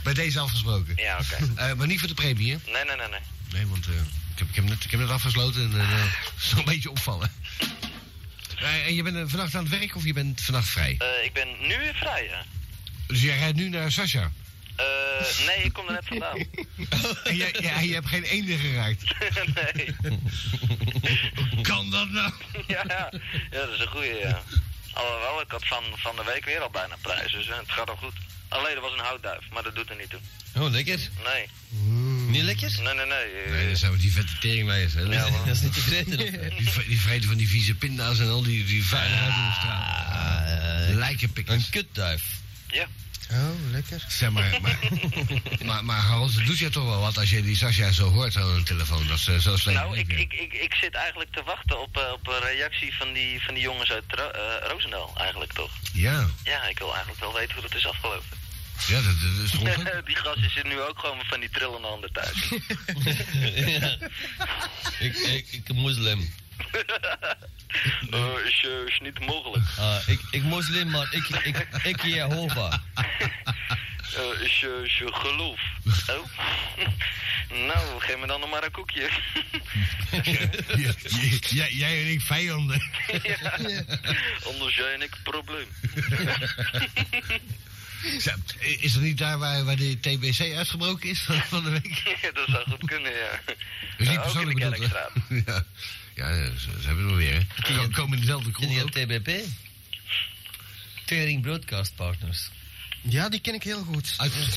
[SPEAKER 4] bij deze afgesproken.
[SPEAKER 7] Ja, oké.
[SPEAKER 4] Eh, maar niet voor de premie, hè?
[SPEAKER 7] Nee, nee, nee, nee.
[SPEAKER 4] Nee, want eh, ik, heb, ik, heb net, ik heb net afgesloten en eh, het <laughs> zal een beetje opvallen. Eh, en je bent eh, vannacht aan het werk of je bent vannacht vrij?
[SPEAKER 7] Eh, ik ben nu weer vrij, ja.
[SPEAKER 4] Dus jij rijdt nu naar <laughs> Sasha.
[SPEAKER 7] Eh, nee, ik kom er net vandaan.
[SPEAKER 4] En jij, jij, je hebt geen eenden geraakt.
[SPEAKER 7] nee.
[SPEAKER 4] Hoe kan dat nou?
[SPEAKER 7] <laughs> Ja, ja. ja, dat is een goeie, ja. Alhoewel, ik had van, van de week weer al bijna prijs, dus eh, het gaat al goed. Alleen, er was een houtduif, maar dat doet er niet toe.
[SPEAKER 2] Oh, lekker.
[SPEAKER 7] Nee,
[SPEAKER 2] Mm. Niet lekker?
[SPEAKER 7] nee, nee, nee. eh,
[SPEAKER 4] Nee, dan zijn we die vette teringlijers, hè?
[SPEAKER 7] Ja, man.
[SPEAKER 2] Dat is niet te vreten. of-
[SPEAKER 4] Die, vre- die vreten van die vieze pinda's en al die, die vuiligheid in de straat.
[SPEAKER 2] Ah, eh,
[SPEAKER 4] Lijkenpikkers.
[SPEAKER 2] een kutduif.
[SPEAKER 7] Ja,
[SPEAKER 9] Oh, lekker.
[SPEAKER 4] Zeg maar, maar, maar, maar Harold, het doet je toch wel wat als je die Sasha zo hoort zo aan de telefoon? Dat ze zo slecht
[SPEAKER 7] nou, ik,
[SPEAKER 4] leven.
[SPEAKER 7] ik, ik, ik zit eigenlijk te wachten op, eh, op een reactie van die, van die jongens uit Ro- eh, Roosendaal, eigenlijk toch?
[SPEAKER 4] Ja,
[SPEAKER 7] Ja, ik wil eigenlijk wel weten hoe dat is afgelopen.
[SPEAKER 4] ja dat, dat is ongelooflijk.
[SPEAKER 7] <laughs> die gast zit nu ook gewoon van die trillende handen thuis.
[SPEAKER 2] Ja. ik, ik, ik moslim.
[SPEAKER 7] Eh, is, eh, is niet mogelijk.
[SPEAKER 2] Ah, ik, ik moslim, maar ik, ik, ik Jehovah.
[SPEAKER 7] Eh, is, eh, is je
[SPEAKER 2] <laughs>
[SPEAKER 7] geloof. Oh. <laughs> nou, geef me dan nog maar een koekje. <laughs>
[SPEAKER 4] Ja, j- jij- jij en ik vijanden.
[SPEAKER 7] Anders jij en ik probleem.
[SPEAKER 4] Zo, Is dat niet daar waar, waar de TBC uitgebroken is van- van de week?
[SPEAKER 7] Ja, <laughs> dat zou goed kunnen, ja.
[SPEAKER 4] Dus niet
[SPEAKER 7] Ja, ook in de
[SPEAKER 4] persoonlijk bedoeld,
[SPEAKER 7] Kerkstraat.
[SPEAKER 4] hè? <laughs> Ja, ja ze, ze hebben het weer, hè? Ze komen in dezelfde
[SPEAKER 2] En
[SPEAKER 4] kroeg
[SPEAKER 2] die
[SPEAKER 4] ook.
[SPEAKER 2] TBP? Tering Broadcast Partners.
[SPEAKER 9] <laughs> Ja, die ken ik heel goed.
[SPEAKER 4] Uit-